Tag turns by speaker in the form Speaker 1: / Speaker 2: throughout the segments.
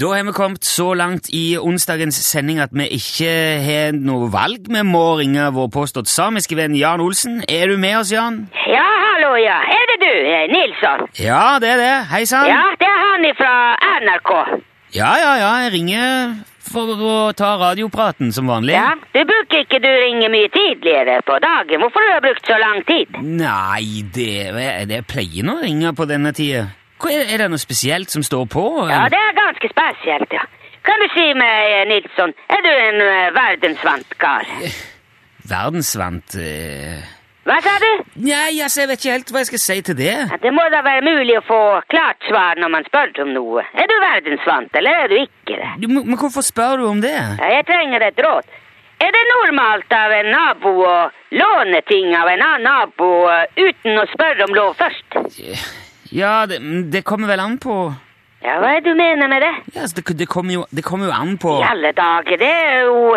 Speaker 1: Da har vi kommet så langt i onsdagens sending at vi ikke har noe valg. Vi må ringe vår påstått samiske venn Jan Olsen. Er du med oss, Jan?
Speaker 2: Ja, hallo, ja. Er det du, eh, Nilsson?
Speaker 1: Ja, det er det. Hei sann.
Speaker 2: Ja, det er han fra NRK.
Speaker 1: ja, ja, ja, Jeg ringer for å ta radiopraten som vanlig.
Speaker 2: Ja, Du bruker ikke du ringe mye tidligere på dagen. Hvorfor har du brukt så lang tid?
Speaker 1: Nei, det, det jeg pleier nå å ringe på denne tida. Hva Er er det noe spesielt som står på?
Speaker 2: Ja, det er ganske spesielt, ja. Kan du si meg, eh, Nilsson, er du en eh, verdensvant kar?
Speaker 1: Verdensvant eh.
Speaker 2: Hva sa du?
Speaker 1: Nei, altså, jeg vet ikke helt hva jeg skal si til det.
Speaker 2: Ja, det må da være mulig å få klart svar når man spør om noe. Er du verdensvant, eller er du ikke det?
Speaker 1: Du, men men hvorfor spør du om det?
Speaker 2: Ja, jeg trenger et råd. Er det normalt av en nabo å låne ting av en annen nabo eh, uten å spørre om lov først?
Speaker 1: Ja, det, men det kommer vel an på
Speaker 2: Ja, hva er det du mener med det?
Speaker 1: ja, altså, det, det, kommer jo, det kommer jo an på
Speaker 2: I alle dager, det er jo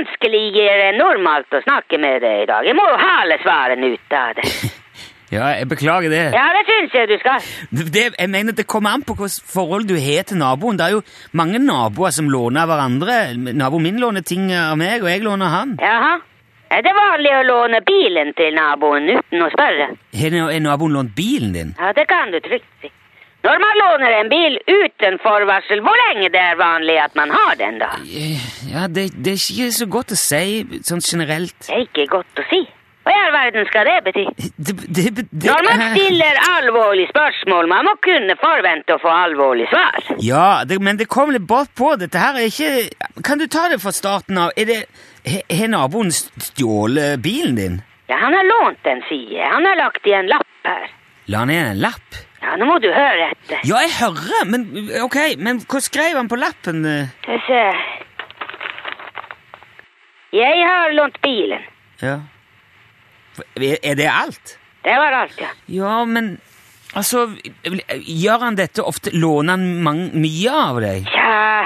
Speaker 2: vanskeligere enn normalt å snakke med deg i dag. Jeg må jo hale svarene ut av det.
Speaker 1: Ja, jeg beklager det.
Speaker 2: Ja, det syns jeg du skal.
Speaker 1: det. det- Jeg mener det kommer an på hvilket forhold du har til naboen. Det er jo mange naboer som låner av hverandre. Naboen min låner ting av meg, og jeg låner av han.
Speaker 2: Jaha. Er det vanlig å låne bilen til naboen uten å spørre?
Speaker 1: Har na- har naboen lånt bilen din?
Speaker 2: Ja, det kan du trygt si. Når man låner en bil uten forvarsel, hvor lenge det er vanlig at man har den, da?
Speaker 1: Eh, Ja, det, det er ikke så godt å si sånn generelt.
Speaker 2: Det er ikke godt å si. Hva i all verden skal det bety?
Speaker 1: Det, det, det,
Speaker 2: Når man stiller alvorlige spørsmål, man må kunne forvente å få alvorlig svar.
Speaker 1: Ja, det, men det kom litt bort på. Dette her er ikke Kan du ta det fra starten av? Er det Har har naboen stjålet bilen din?
Speaker 2: Ja, han har lånt en side. Han har lagt i en lapp her.
Speaker 1: La han igjen en lapp?
Speaker 2: Ja, nå må du høre etter.
Speaker 1: Ja, jeg hører, men ok, men hva skrev han på lappen? eh?
Speaker 2: Skal vi se. Jeg har lånt bilen.
Speaker 1: Ja. Er er det alt?
Speaker 2: Det var alt, ja.
Speaker 1: Ja, men altså Gjør han dette ofte? Låner han mang, mye av deg?
Speaker 2: Tja,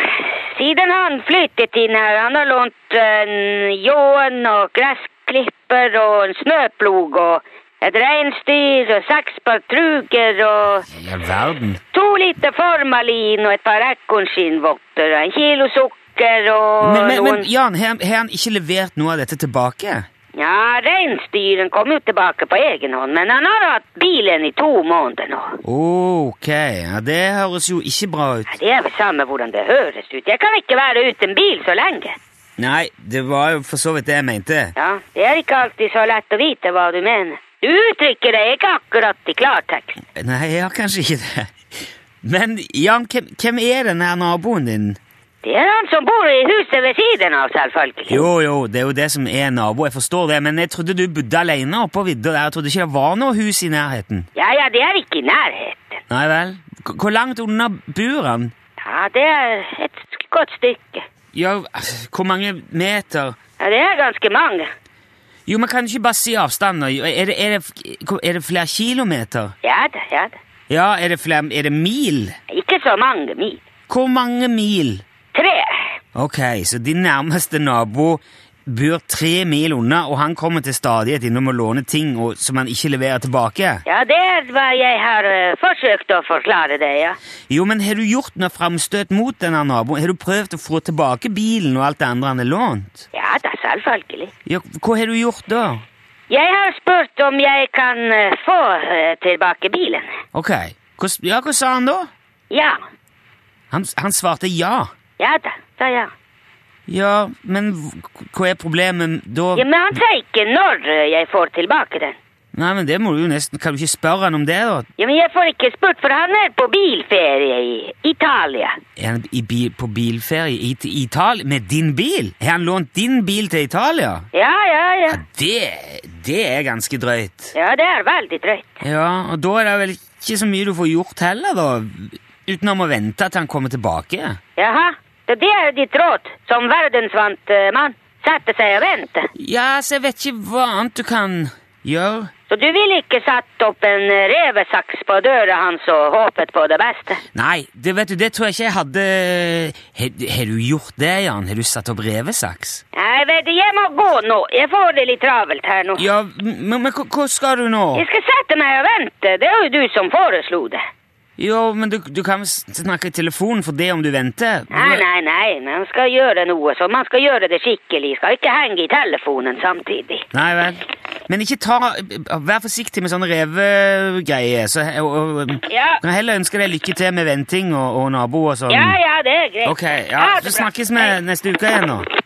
Speaker 2: siden han flyttet inn her, han har lånt en ljåen og gressklipper og en snøplog og et reinsdyr og seks patruger og
Speaker 1: I all verden.
Speaker 2: to liter formalin og et par ekornskinnvotter og en kilo sukker og
Speaker 1: Men, men, men
Speaker 2: noen
Speaker 1: Jan, har han- har han ikke levert noe av dette tilbake?
Speaker 2: Ja, reinsdyren kom jo tilbake på egen hånd, men han har hatt bilen i to måneder nå.
Speaker 1: Ok, ja, det høres jo ikke bra ut.
Speaker 2: Ja, Det er vel samme hvordan det høres ut. Jeg kan ikke være uten bil så lenge.
Speaker 1: Nei, det var jo for så vidt det jeg mente.
Speaker 2: Ja, Det er ikke alltid så lett å vite hva du mener. Du uttrykker deg ikke akkurat i klartekst.
Speaker 1: Nei, jeg har kanskje ikke det. Men Jan, hvem, hvem er den her naboen din?
Speaker 2: Det er han som bor i huset ved siden av, selvfølgelig.
Speaker 1: Jo, jo, det er jo det som er nabo, jeg forstår det, men jeg trodde du bodde alene oppe på vidda der, jeg trodde ikke det var noe hus i nærheten.
Speaker 2: Ja, ja, det er ikke i nærheten.
Speaker 1: Nei vel? K hvor langt unna bor han?
Speaker 2: Ja, det er et godt stykke.
Speaker 1: Ja, altså, hvor mange meter?
Speaker 2: Ja, Det er ganske mange.
Speaker 1: Jo, man kan ikke bare si avstander. Jo, Er det, er det, hvor- er det flere kilometer?
Speaker 2: Ja da, ja da.
Speaker 1: Ja, er det flere, er det mil?
Speaker 2: Ikke så mange mil.
Speaker 1: Hvor mange mil?
Speaker 2: Tre.
Speaker 1: Ok, så din nærmeste nabo bor tre mil unna, og han kommer til stadighet innom og låne ting og, som han ikke leverer tilbake.
Speaker 2: Ja, det er hva jeg har eh, forsøkt å forklare deg, ja.
Speaker 1: Jo, men har du gjort noe framstøt mot denne naboen? Har du prøvd å få tilbake bilen og alt det andre han har lånt?
Speaker 2: Ja da, selvfølgelig.
Speaker 1: Ja, hva har du gjort da?
Speaker 2: Jeg har spurt om jeg kan eh, få eh, tilbake bilen.
Speaker 1: Ok, hva, s- ja, hva sa han da?
Speaker 2: Ja.
Speaker 1: Han, han svarte ja.
Speaker 2: Ja da, sa jeg.
Speaker 1: Ja, men hv- hva er problemet da?
Speaker 2: Ja, men han sa ikke når eh, jeg får tilbake den.
Speaker 1: Nei, men det må du jo nesten, kan du ikke spørre han om det da?
Speaker 2: Ja, men jeg får ikke spurt, for han er på bilferie i Italia.
Speaker 1: Er han i bil, på bilferie i, til Italia? Med din bil? Har han lånt din bil til Italia?
Speaker 2: Ja, ja, ja.
Speaker 1: Det, det er ganske drøyt.
Speaker 2: Ja, det er veldig drøyt.
Speaker 1: Ja, og da er det vel ikke så mye du får gjort heller, da. Utenom å vente til han kommer tilbake.
Speaker 2: Jaha. Så det er ditt råd, som verdensvant eh, mann. Sette seg og vente.
Speaker 1: Ja, så jeg vet ikke hva annet du kan gjøre.
Speaker 2: Så du ville ikke satt opp en eh, revesaks på døra hans og håpet på det beste?
Speaker 1: Nei, det vet du, det tror jeg ikke jeg hadde Har har du gjort det, Jan? Har du satt opp revesaks?
Speaker 2: Nei, vet du, jeg må gå nå. Jeg får det litt travelt her nå.
Speaker 1: Ja, men, men hva hva skal du nå?
Speaker 2: Jeg skal sette meg og vente. Det er jo du som foreslo det.
Speaker 1: Jo, men du, du kan jo s- snakke i telefon for det om du venter.
Speaker 2: Nei, nei, nei, man skal gjøre noe, så man skal gjøre det skikkelig. Skal ikke henge i telefonen samtidig.
Speaker 1: Nei vel. Men ikke ta Vær forsiktig med sånne revegreier. Så, og, og,
Speaker 2: Ja.
Speaker 1: Kan heller ønske deg lykke til med venting og, og naboer og sånn.
Speaker 2: Ja, ja, det er greit.
Speaker 1: Ok, ja,
Speaker 2: Ha
Speaker 1: Så
Speaker 2: det bra.
Speaker 1: snakkes vi neste uke igjen, nå.